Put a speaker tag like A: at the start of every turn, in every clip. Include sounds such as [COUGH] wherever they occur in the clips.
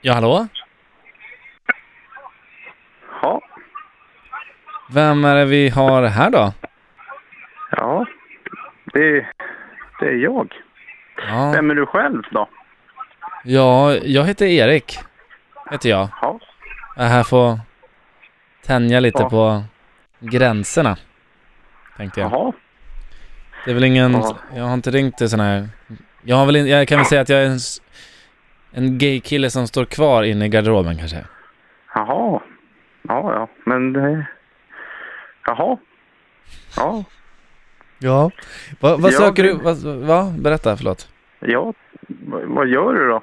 A: Ja, hallå?
B: Ja,
A: Vem är det vi har här då?
B: ja. Det, det är jag.
A: Ja,
B: Vem är du själv då?
A: ja jag heter Erik. Heter jag.
B: Ja,
A: Jag är här för att tänja lite
B: Ja.
A: på gränserna. Tänkte jag.
B: jaha.
A: Det är väl ingen...
B: Ja.
A: Jag har inte ringt till sån här... Jag, har väl in, jag kan väl säga att jag är en, s- en gay kille som står kvar inne i garderoben kanske.
B: Jaha. Ja, ja. Men det... Jaha. Ja,
A: Ja. Va, vad
B: Ja,
A: söker
B: det-
A: du? Vad? va? Berätta, förlåt.
B: ja. V- Vad gör du då?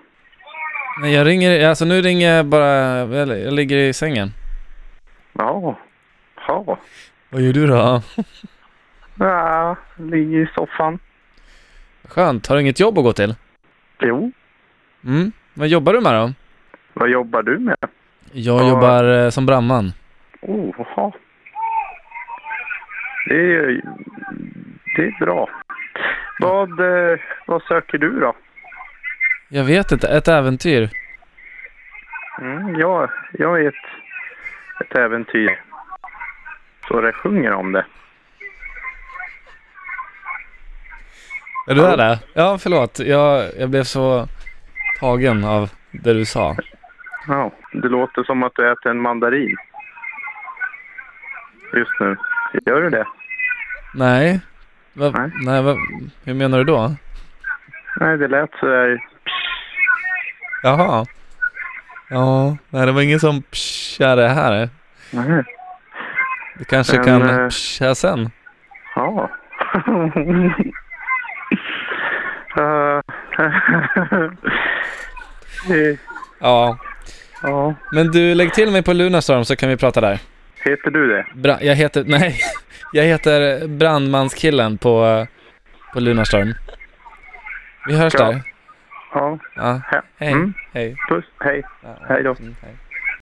A: Nej, jag ringer... Alltså nu ringer jag bara... eller, Jag ligger i sängen.
B: Ja. Ja.
A: Vad gör du då?
B: ja. Ligger i soffan.
A: Skönt. Har du inget jobb att gå till?
B: Jo.
A: Mm. Vad jobbar du med då?
B: Vad jobbar du med?
A: Jag
B: Ja.
A: jobbar eh, som brandman.
B: Oh, jaha. Det är, det är bra. Vad, eh, vad söker du då?
A: Jag vet inte. Ett äventyr.
B: Mm, ja, jag är ett, ett äventyr. Så det sjunger om det.
A: Är du här där? Ja, förlåt. Jag, jag blev så tagen av det du sa.
B: Ja, det låter som att du äter en mandarin. Just nu. Gör du det?
A: Nej. Va,
B: Nej.
A: nej, va, hur menar du då?
B: Nej, det lät så där.
A: Jaha. Ja, nej det var ingen som pschade här.
B: Nej.
A: Du kanske
B: Men, eh,
A: kan pscha sen?
B: Ja. [LAUGHS] Eh, [LAUGHS] eh,
A: Ja.
B: ja.
A: Men du, lägg till mig på Lunarstorm så kan vi prata där.
B: Heter du det?
A: Bra, jag heter, [LAUGHS] nej. Jag heter brandmanskillen på, på Lunarstorm. Vi hörs
B: Ja.
A: där.
B: Ja.
A: Ja.
B: He-
A: Hej.
B: Mm.
A: Hej.
B: Puss. Hej.
A: Ja,
B: Hej då.
A: mm, hej.